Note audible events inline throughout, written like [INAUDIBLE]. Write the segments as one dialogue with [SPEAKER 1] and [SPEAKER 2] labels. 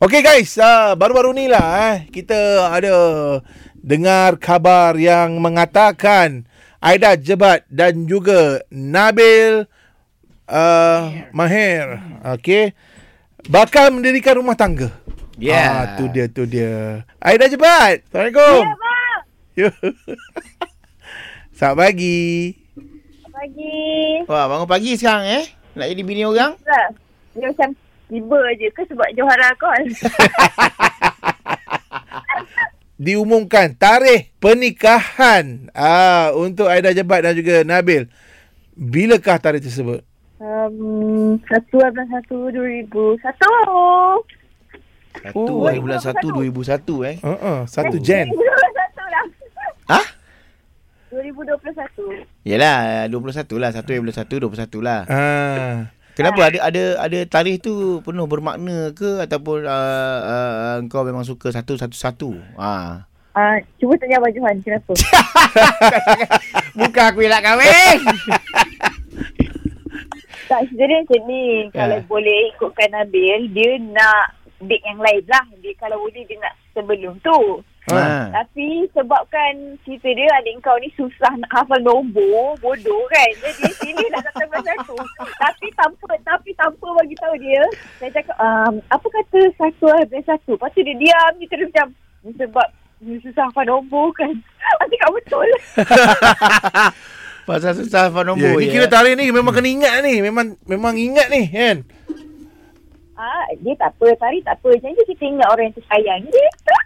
[SPEAKER 1] Okay guys, ah, baru-baru ni lah eh, kita ada dengar khabar yang mengatakan Aida Jebat dan juga Nabil uh, Maher, okay, bakal mendirikan rumah tangga. Ah,
[SPEAKER 2] Yeah.
[SPEAKER 1] tu dia, tu dia. Aida Jebat, Assalamualaikum.
[SPEAKER 3] Ya, Pak.
[SPEAKER 1] Ya. [LAUGHS] Selamat pagi.
[SPEAKER 3] Ya, Pagi.
[SPEAKER 2] Wah, bangun pagi sekarang eh. Nak jadi bini orang?
[SPEAKER 3] Lah. Dia macam tiba je ke sebab Johara
[SPEAKER 2] [LAUGHS]
[SPEAKER 3] call?
[SPEAKER 1] Diumumkan tarikh pernikahan ah, untuk Aida Jebat dan juga Nabil. Bilakah tarikh tersebut?
[SPEAKER 3] um, 1-11-1-2001.
[SPEAKER 2] Satu
[SPEAKER 1] Oh.
[SPEAKER 2] hari eh, bulan satu, dua ribu satu eh.
[SPEAKER 1] Uh-uh, satu Jan.
[SPEAKER 3] 2021 lah.
[SPEAKER 2] Hah?
[SPEAKER 3] 2021.
[SPEAKER 2] Yelah, 21 lah. Satu hari bulan satu, 21 lah.
[SPEAKER 1] Ah,
[SPEAKER 2] Kenapa? Ada ada ada tarikh tu penuh bermakna ke ataupun uh, uh, kau memang suka satu, satu, satu? Ah.
[SPEAKER 3] Uh, cuba tanya Abang Johan kenapa?
[SPEAKER 2] [LAUGHS] Bukan aku elak kahwin.
[SPEAKER 3] [LAUGHS] tak, sebenarnya macam ni. Kalau
[SPEAKER 2] Ya.
[SPEAKER 3] boleh ikutkan Nabil, dia nak date yang lain lah. Dia kalau boleh, dia nak sebelum tu.
[SPEAKER 2] ha.
[SPEAKER 3] Tapi sebabkan cerita dia adik kau ni susah nak hafal nombor, bodoh kan. Jadi sini nak kata belas satu. Tapi tanpa tapi tanpa bagi tahu dia, saya cakap um, apa kata satu lah belas satu. Lepas tu dia diam dia terus macam "Ni sebab ni susah hafal nombor kan. [LAUGHS] Aku cakap betul.
[SPEAKER 2] Pasal susah hafal
[SPEAKER 1] yeah,
[SPEAKER 2] nombor
[SPEAKER 1] ni
[SPEAKER 2] je,
[SPEAKER 1] Ya, kira
[SPEAKER 2] eh.
[SPEAKER 1] tarikh ni memang kena ingat ni. Memang memang ingat ni kan.
[SPEAKER 3] Ah, dia tak apa, tarik tak apa. Jangan kita ingat orang yang tersayang. Dia tak.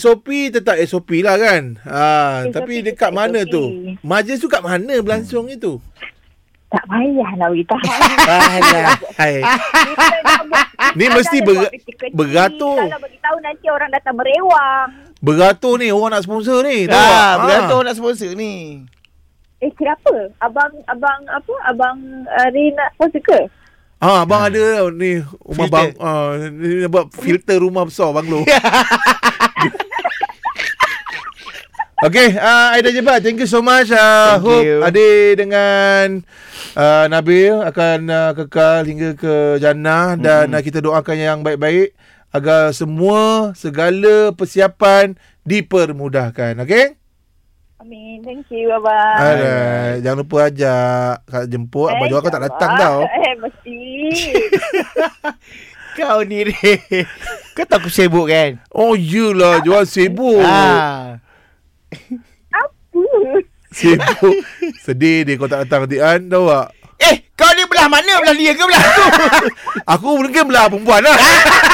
[SPEAKER 1] SOP tetap SOP lah kan. Ah,
[SPEAKER 3] SOP
[SPEAKER 1] tapi
[SPEAKER 3] tetap
[SPEAKER 1] dekat mana
[SPEAKER 3] SOP.
[SPEAKER 1] tu? Majlis tu kat mana berlangsung itu?
[SPEAKER 3] Tak payahlah beritahu.
[SPEAKER 1] Alah. Hai.
[SPEAKER 3] Kita nak
[SPEAKER 1] [LAUGHS]
[SPEAKER 3] buat-
[SPEAKER 1] Ni
[SPEAKER 3] kita
[SPEAKER 1] mesti
[SPEAKER 3] nak
[SPEAKER 1] ber-
[SPEAKER 3] buat kecil-kecil.
[SPEAKER 1] beratur.
[SPEAKER 3] Kalau bagi tahu nanti orang datang berewang.
[SPEAKER 1] Beratur ni orang nak sponsor ni. tahu tak?
[SPEAKER 2] Dah, Ah, bergantung nak sponsor ni.
[SPEAKER 3] Eh kenapa? Abang abang apa? Abang uh, Rina sponsor ke?
[SPEAKER 1] Ah, abang ada tau ni rumah
[SPEAKER 2] Filter.
[SPEAKER 1] bang ah ni dia buat filter rumah besar bang [LAUGHS] lo. Okay, uh, Aida Jebat, thank you so much. Uh,
[SPEAKER 2] Thank
[SPEAKER 1] hope
[SPEAKER 2] you.
[SPEAKER 1] Ade dengan uh, Nabil akan uh, kekal hingga ke jannah dan uh, kita doakan yang baik-baik agar semua segala persiapan dipermudahkan, okay?
[SPEAKER 3] Amin. Thank you abang.
[SPEAKER 1] Alright, jangan lupa ajak Kak jemput. Eh, Abang Johan kau tak datang
[SPEAKER 3] abang.
[SPEAKER 1] tau.
[SPEAKER 3] Eh mesti. [LAUGHS]
[SPEAKER 2] Kau ni re. Kau tahu aku sibuk kan?
[SPEAKER 1] Oh, yelah. Johan sibuk.
[SPEAKER 2] Ah.
[SPEAKER 3] apa?
[SPEAKER 1] Sibuk Sedih dia kau tak datang nanti An Tahu tak
[SPEAKER 2] Eh, kau ni belah mana? Belah dia ke belah aku?
[SPEAKER 1] Aku mungkin belah perempuan lah